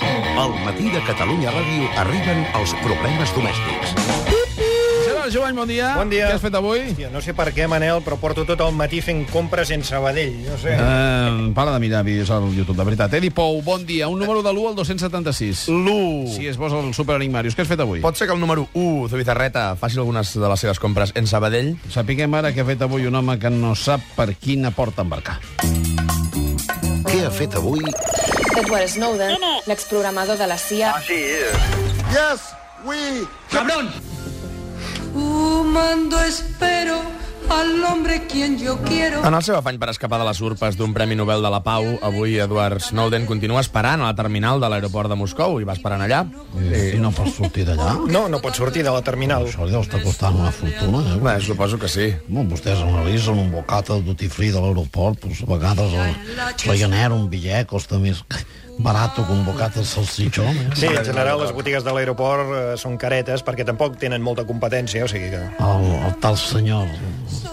Al matí de Catalunya Ràdio arriben els problemes domèstics. Gerard Jovany, bon dia. Bon dia. Què has fet avui? Hòstia, no sé per què, Manel, però porto tot el matí fent compres en Sabadell. No sé. Uh, para de mirar vídeos al YouTube, de veritat. Edi Pou, bon dia. Un número de l'1 al 276. L'1. Si es posa el superenigmarius. Què has fet avui? Pot ser que el número 1 de Vitarreta faci algunes de les seves compres en Sabadell? Sapiguem ara què ha fet avui un home que no sap per quina porta embarcar. Què ha fet avui Edward Snowden, l'exprogramador de la CIA, Fumando espero al hombre quien yo quiero. En el seu afany per escapar de les urpes d'un Premi Nobel de la Pau, avui Edward Snowden continua esperant a la terminal de l'aeroport de Moscou i va esperant allà. I Eh, no pots sortir d'allà? No, no pot sortir de la terminal. Això li deu estar costant una fortuna, eh? Bé, suposo que sí. Bueno, vostès analitzen un bocata de duty free de l'aeroport, doncs a vegades el Ryanair, un bitllet, costa més barat que un bocata de salsitxó. Eh? Sí, en general les botigues de l'aeroport eh, són caretes perquè tampoc tenen molta competència, o sigui que... El, el tal senyor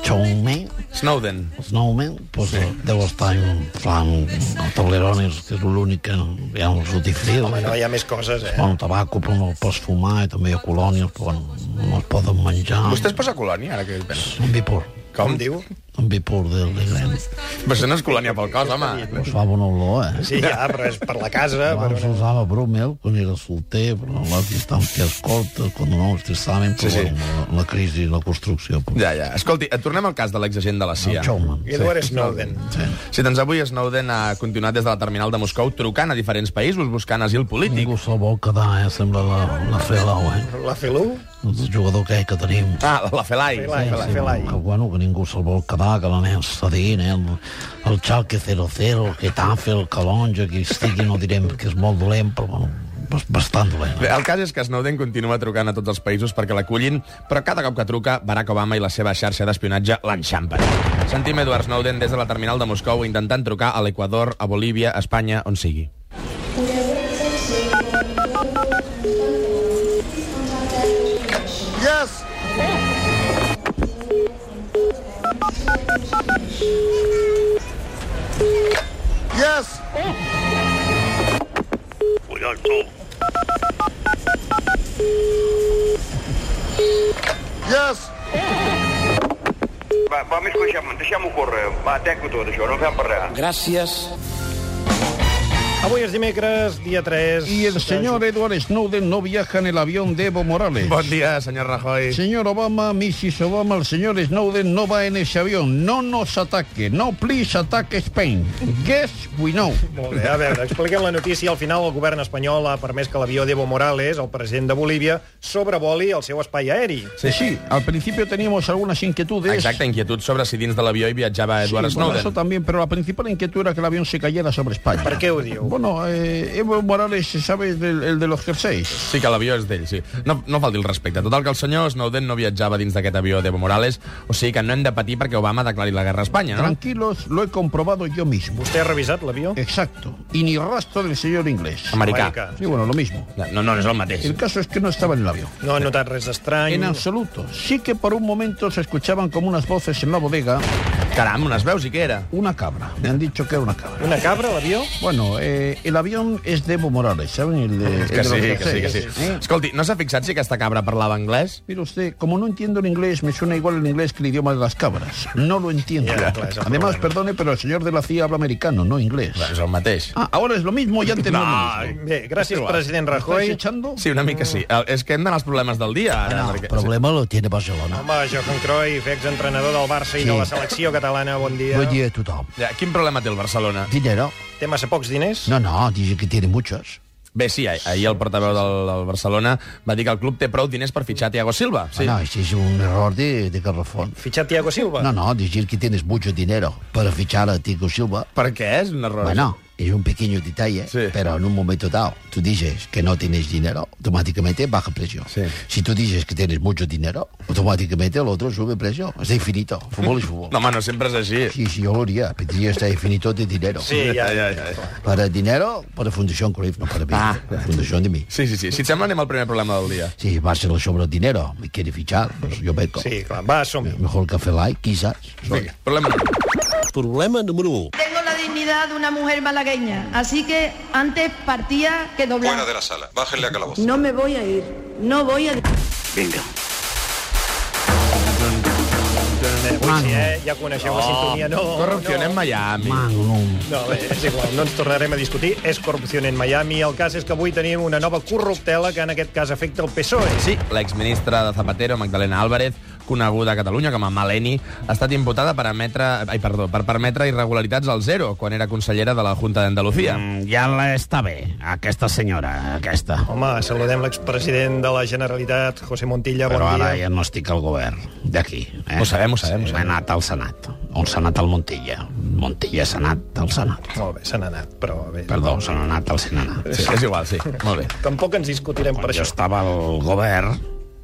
Chongmeng, Snowden. Snowman, pues, sí. doncs, deu estar inflant el tablerones, que és l'únic que hi ha un rotifrí. Home, no hi ha més coses, eh? Bueno, tabaco, però no el pots fumar, i també hi ha colònies, però bueno, no es poden menjar. Vostè es posa colònia, ara que hi penso? Un vipur, Com diu? un vipur de, de gran. Però això no és colònia pel cos, home. Us fa bona olor, eh? Sí, ja, però és per la casa, per Abans una... usava Brumel quan era solter, però les distàncies cortes, quan no es testaven, Sí, però sí. sí, sí. La, la crisi i la construcció. Però... Ja, ja. Escolti, et tornem al cas de l'exagent de la CIA. Chongman. Edward Snowden. Sí. Sí, doncs avui Snowden ha continuat des de la terminal de Moscou trucant a diferents països buscant asil polític. Ningú se'l vol quedar, eh? Sembla la, la Felau, eh? La Felú? El jugador que, que tenim. Ah, la Felai. Felai. Sí, Felai. que, bueno, que ningú se'l vol quedar, que l'anem cedint, eh? El, el Xalque 0-0, el Getafe, el Calonja, que estigui, no direm que és molt dolent, però bueno, bas- bastant dolent. Bé, el cas és que Snowden continua trucant a tots els països perquè l'acullin, però cada cop que truca, Barack Obama i la seva xarxa d'espionatge l'enxampen. Sentim Edward Snowden des de la terminal de Moscou intentant trucar a l'Equador, a Bolívia, a Espanya, on sigui. Va, va més que ho deixem, deixem-ho córrer. Va, tenc-ho tot, això, no en fem per res. Avui és dimecres, dia 3... Y el señor Edward Snowden no viaja en el avión de Evo Morales. Bon dia, senyor Rajoy. Señor Obama, Mrs. Obama, el señor Snowden no va en ese avión. No nos ataque. No, please, ataque Spain. Guess we know. Molt bé, a veure, expliquem la notícia. Al final, el govern espanyol ha permès que l'avió d'Evo Morales, el president de Bolívia, sobrevoli el seu espai aeri. Sí, sí, al principio teníamos algunas inquietudes. Exacte, inquietud sobre si dins de l'avió hi viatjava Sí, Edward bueno, eso Snowden. también, pero la principal inquietud era que el avión se cayera sobre España. Per què ho diu? Bueno, eh, Evo Morales, ¿sabes? El, el de los jerseys. Sí que l'avió és d'ell, sí. No, no falti el respecte. Total, que el senyor Snowden no viatjava dins d'aquest avió d'Evo Morales, o sigui que no hem de patir perquè Obama declari la guerra a Espanya, no? Tranquilos, lo he comprobado yo mismo. Vostè ha revisat l'avió? Eh. Exacto. Y ni rastro del señor inglés. Americà. Sí, bueno, lo mismo. No, no, no és el mateix. El caso es que no estaba en el avión. No ha notat res d'estrany? En absoluto. Sí que por un momento se escuchaban como unas voces en la bodega. Caram, on es veus i què era? Una cabra. Me han dicho que era una cabra. Una cabra, l'avió? Bueno, eh, el avión es de Evo Morales, ¿saben? El de, el Que de los sí, que sí, que jerseys, sí. ¿eh? Escolti, no s'ha fixat si aquesta cabra parlava anglès? Mire usted, como no entiendo el inglés, me suena igual el inglés que el idioma de las cabras. No lo entiendo. Ya, claro, es un Además, problema. perdone, pero el señor de la CIA habla americano, no inglés. És el mateix. Ah, ahora es lo mismo y antes no, era lo mismo. Bé, gràcies, Igual. president ¿Estáis Rajoy. echando? Sí, una mica sí. El- És que hem d'anar als problemes del dia, ara. perquè... lo tiene Barcelona. Home, Johan Cruyff, exentrenador del Barça i de la selecció catalana, bon dia. Oye, a tothom. Ja, quin problema té el Barcelona? Dinero. Té massa pocs diners? No, no, dice que tiene muchos. Bé, sí, ah- ahir el portaveu del, del Barcelona va dir que el club té prou diners per fitxar Thiago Silva. Sí. No, ese es un error de, de Garrafón. Fitxar Thiago Silva? No, no, decir que tienes mucho dinero para fichar a Tico Silva. Per què? És un error. Bueno, es un pequeño detalle, Sí. pero en un momento dado tú dices que no tienes dinero, automáticamente baja precio. Sí. Si tú dices que tienes mucho dinero, automáticamente el otro sube precio. Es infinito. Fútbol es fútbol. No, home, no sempre és així. Sí, sí, yo lo haría. Pediría hasta infinito de dinero. Sí, ja, ja, ja. Para dinero, para Fundación Cruyff, no para mí. Ah. Para Fundación de mí. Sí, sí, sí. Si et sembla, anem al primer problema del dia. Si Barcelona sobra dinero, me quiere fichar, pues yo vengo. Sí, clar, va, som -hi. Mejor que Felay, quizás. Vinga, problema número u. Tengo la dignidad nacionalidad de una mujer malagueña, así que antes partía que doblar. Fuera de la sala. Bájenle a calabozo. No me voy a ir, no voy a... Avui sí, eh? Ja coneixeu la sintonia, no? Corrupció en Miami. Magnum. No, bé, és igual, no ens tornarem a discutir. És corrupció en Miami. El cas és que avui tenim una nova corruptela que en aquest cas afecta el PSOE. Sí, l'exministra de Zapatero, Magdalena Álvarez, coneguda a Catalunya com a Maleni, ha estat imputada per, emetre, ai, perdó, per permetre irregularitats al zero quan era consellera de la Junta d'Andalucía. Mm. Ja està bé, aquesta senyora, aquesta. Home, saludem l'expresident de la Generalitat, José Montilla, Però bon ara dia. ja no estic al govern d'aquí. Eh? Ho sabem, ho sabem, ho He sabem. anat al Senat. On s'ha anat al Montilla. Montilla s'ha anat al Senat. Molt bé, se n'ha anat, però bé. Perdó, s'ha anat al Senat. Sí, és igual, sí. Molt bé. Tampoc ens discutirem Quan per jo això. estava al govern,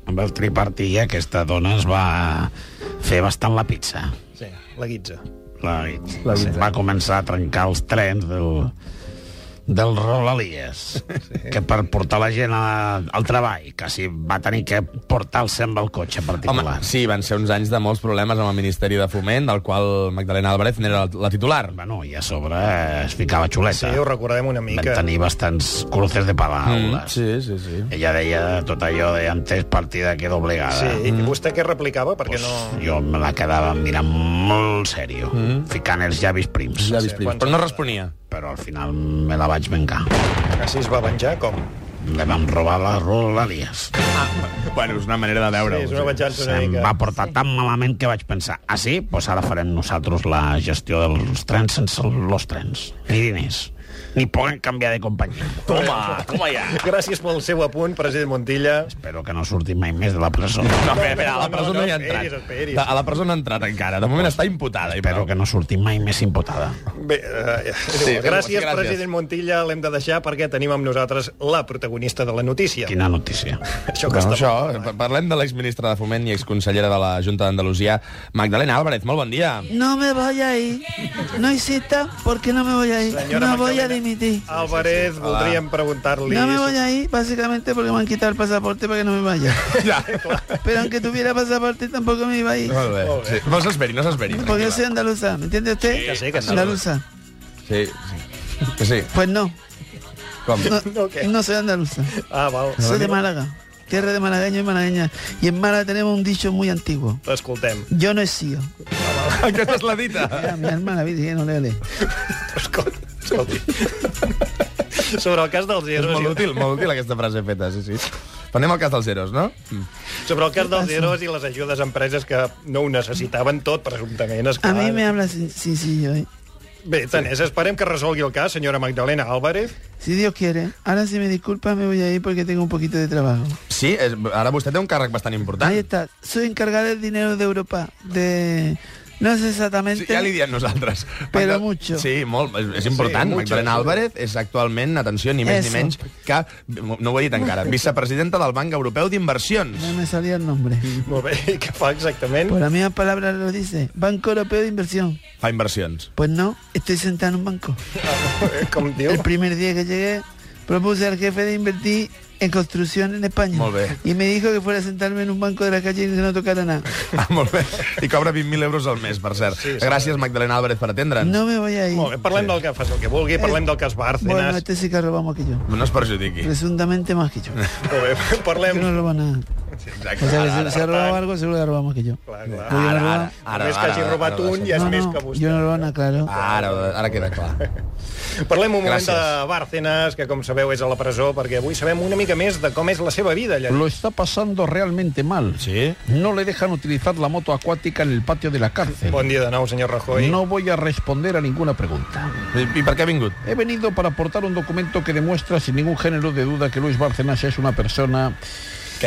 amb el tripartit, aquesta dona es va fer bastant la pizza. Sí, la guitza. La, la va començar a trencar els trens del, del Rolalies, sí. que per portar la gent a, al treball, quasi va tenir que portar-se amb el cotxe Home, particular. sí, van ser uns anys de molts problemes amb el Ministeri de Foment, del qual Magdalena Álvarez n'era la, la titular. Bueno, i a sobre eh, es ficava Sí, xuleta. ho recordem una Vam mica. Mm, tenir bastants cruces de paraules. Sí, sí, sí. Ella deia tot allò de antes partida que doblegada. Sí, i vostè què replicava? Perquè no... Jo me la quedava mirant molt sèrio, mm. ficant els llavis prims. Ja vist, Sí, prims. quan- Però no responia. Però al final me la vaig vengar. Així es va venjar, com? Le vam robar la Rolalies. Ah. Bueno, és una manera de Sí, veure-ho. és una venjança una Em mica. va portar tan malament que vaig pensar, ah sí? Doncs ara farem nosaltres la gestió dels trens sense els trens. Ni diners. Ni poden canviar de companyia. Toma, toma ja. Gràcies pel seu apunt, president Montilla. Espero que no surti mai més de la presó. No, espera, espera, a la No, no, presó no, no hi ha esperis, entrat. esperis. De- A la presó no ha entrat encara. De moment està imputada. i Espero prou. que no surti mai més imputada. Bé, eh, Sí, sí, gràcies, gràcies. gràcies, president Montilla. L'hem de deixar perquè tenim amb nosaltres la protagonista de la notícia. Quina notícia. Això que Bueno, està... això, pa- parlem de l'exministra de Foment i exconsellera de la Junta d'Andalusia, Magdalena Álvarez. Molt bon dia. No me voy a ir. No hay cita porque no me voy a ir. Senyora no voy Magdalena a dimitir. Álvarez, voldríem preguntar-li... No me voy a ir básicamente porque me han quitado el pasaporte para que no me vaya. Ja. Pero aunque tuviera pasaporte tampoco me iba a ir. Molt bé. Sí. No s'esperi, no s'esperi. Porque yo soy tranquil·la. andaluza, ¿me entiende usted? Que sí, que sí. Andaluza. Sí, sí. Que sí. Pues no, Com? no, ¿qué? no soy andaluza. Ah, val. Soy de Málaga, tierra de malagueños y malagueñas. Y en Málaga tenemos un dicho muy antiguo. T'escoltem. Yo no he sido. Aquesta és la dita. Era mi hermana virgen, ole, ole. Escolta, escolti. Sobre el cas dels És molt Eros... I... útil, molt útil aquesta frase feta, sí, sí. Però anem al cas dels zeros, no? Sobre el cas dels Eros i les ajudes a empreses que no ho necessitaven tot, presumptament, esclar. A mí me habla sin- sencillo, ¿eh? Bé, tant és. Esperem que resolgui el cas, senyora Magdalena Álvarez. Si Dios quiere. Ahora si me disculpa me voy a ir porque tengo un poquito de trabajo. Sí, és, ara vostè té un càrrec bastant important. Ahí está. Soy encargada del dinero de Europa. De... No sé exactamente. Sí, ja li diem nosaltres. Però Magda- mucho. Sí, molt. És, és important. Sí, mucho, Magdalena sí. Álvarez és actualment, atenció, ni més Eso. ni menys, que, no ho he dit encara, vicepresidenta del Banc Europeu d'Inversions. No me salía el nombre. Molt bé, i què fa exactament? Por la misma palabra lo dice. Banco Europeo de Inversión. Fa inversions. Pues no, estoy sentada en un banco. eh, Com diu? El primer día que llegué propuse al jefe de invertir en construcción en España. Molt bé. Y me dijo que fuera a sentarme en un banco de la calle y que no tocara nada. Ah, molt bé. I cobra 20.000 euros al mes, per cert. Sí, sí. Gràcies, Magdalena Álvarez, per atendre'ns. No me voy a ir. Molt bé, parlem del que fas el que vulgui, parlem del cas Bueno, Bárcenas. este sí que robamos que yo. No es perjudiqui. Presuntamente más que yo. Molt bé, Yo parlem... no robo nada. Exacte. O sea, que Ara, si se ha robado algo, seguro que ha robado más que yo. Clar, clar. Pues yo no he ara, ara, robado- ara, Només que hagi ara, robat ara, un i és No, més no, que vostè. yo no robo nada, claro. Ah. Ara, ara queda clar. Parlem un moment Gràcies. de Bárcenas, que com sabeu és a la presó, perquè avui sabem una mica més de com és la seva vida allà. Lo está pasando realmente mal. Sí? No le dejan utilizar la moto acuática en el patio de la cárcel. Pues Bon dia de nou, senyor Rajoy. No voy a responder a ninguna pregunta. I, I per què ha vingut? He venido para aportar un documento que demuestra sin ningún género de duda que Luis Bárcenas es una persona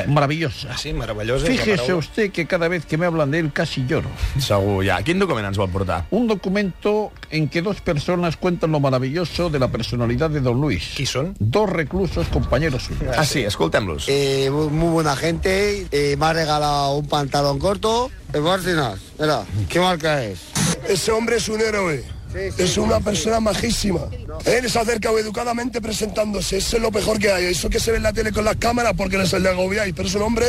maravillosa. Ah, Sí, eh, meravellosa. és la Fíjese paraula. usted que cada vez que me hablan de él casi lloro. Segur, ja. Quin document ens vol portar? Un documento en que dos personas cuentan lo maravilloso de la personalidad de don Luis. Qui són? Dos reclusos compañeros suyos. Ah, sí, Eh. escoltem-los. Eh, muy buena gente, eh, me ha regalado un pantalón corto. Eh, Bárcenas, mira, ¿qué marca es? Ese hombre es un héroe. es una persona majísima. Él se acerca educadamente presentándose. Eso es lo mejor que hay. Eso que se ve en la tele con las cámaras porque les agobiáis. Pero es un hombre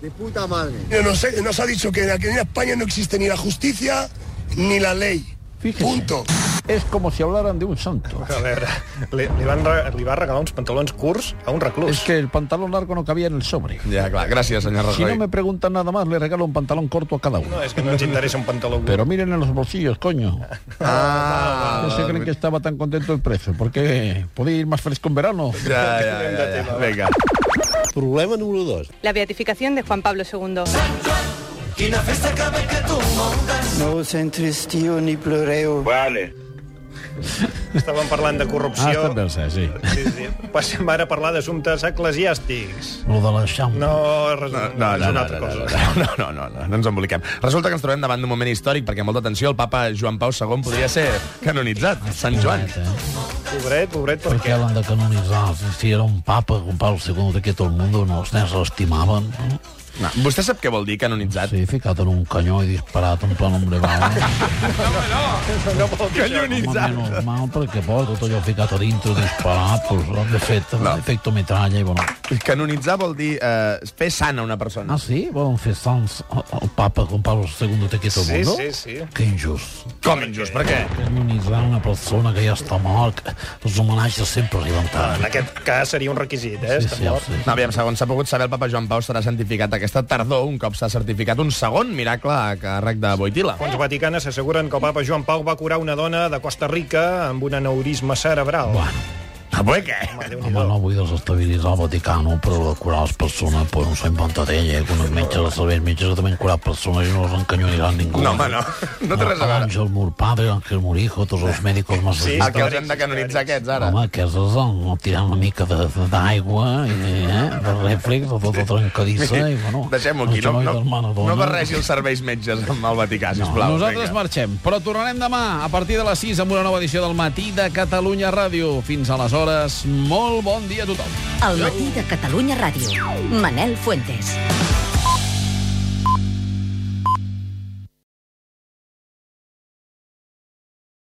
De puta madre. que nos, nos ha dicho que aquí en España no existe ni la justicia ni la ley. Fíjese. Punto. Es como si hablaran de un santo. A veure, li, li, van re, li va regalar uns pantalons curts a un reclús. Pues Es que el pantalón largo no cabía en el sobre. Ja, clar, gràcies, senyor Si Rajoy. no me preguntan nada más, le regalo un pantalón corto a cada uno. No, és que no ens interessa un pantaló curt. Pero miren en los bolsillos, coño. Ah, No se creen que estaba tan contento el precio, porque podía ir más fresco en verano. ja, ja, ja, ja. Vinga. Problema número 2. La beatificación de Juan Pablo II. No us entristiu ni ploreu. Vale. Estàvem parlant de Ah, corrupció. està bé, sí. Sí, sí. Passem ara a parlar d'assumptes eclesiàstics. Lo de l'eixample. No, res, no, No, és no, una no, altra no, cosa. no, no, no, no, no, no ens emboliquem. Resulta que ens trobem davant d'un moment històric, perquè molta atenció, el papa Joan Pau II podria ser canonitzat, Sant Joan. Pobret, pobret, ¿Por qué hablan eh, de canonizar? Si era un papa, un Pablo II, de que todo el mundo nos nens l'estimaven. No? No, vostè sap què vol dir canonitzat? Sí, ficat en un canyó i disparat en plan ombregal. No vol dir això. Home, menys mal, perquè por tot allò ficat a dintre, disparat, pues, de fet, no. efecto metralla i bueno. Canonitzar vol dir eh, fer sana una persona. Ah, sí? Volen fer sants el papa con Pablo II de que todo Sí, el mundo? sí, sí. Que injust. Com injust, per què? Canonitzar una persona que ja està mort, els homenatges sempre arriben tard. En aquest cas seria un requisit, eh? Sí, Estem sí, molt- sí. No, aviam, segons s'ha pogut saber, el papa Joan Pau serà santificat aquesta tardor, un cop s'ha certificat un segon miracle a càrrec de Boitila. Fons Vaticanes s'asseguren que el papa Joan Pau va curar una dona de Costa Rica amb un aneurisma cerebral. Bueno. Ah, pues què? Home, no vull desestabilitzar el Vaticano, però de curar les persones, pues, no s'ha inventat ella, que uns metges de serveis metges que també han curat persones i no les encanyoniran ningú. No, home, no. No té res a veure. Àngel Mur Padre, Ángel Murijo, tots els mèdicos Sí, massagistes. el que els hem de canonitzar aquests, ara. Home, que és el tirant una mica de- de- d'aigua i eh, de rèflex, de tota trencadissa, i bueno... Deixem-ho aquí, el no, genoll no, del Maradona. no barregi els serveis metges amb el Vaticà, sisplau. Nosaltres Vinga. marxem, però tornarem demà a partir de les 6 amb una nova edició del Matí de Catalunya Ràdio. Fins aleshores, molt bon dia a tothom. El matí de Catalunya Ràdio. Manel Fuentes.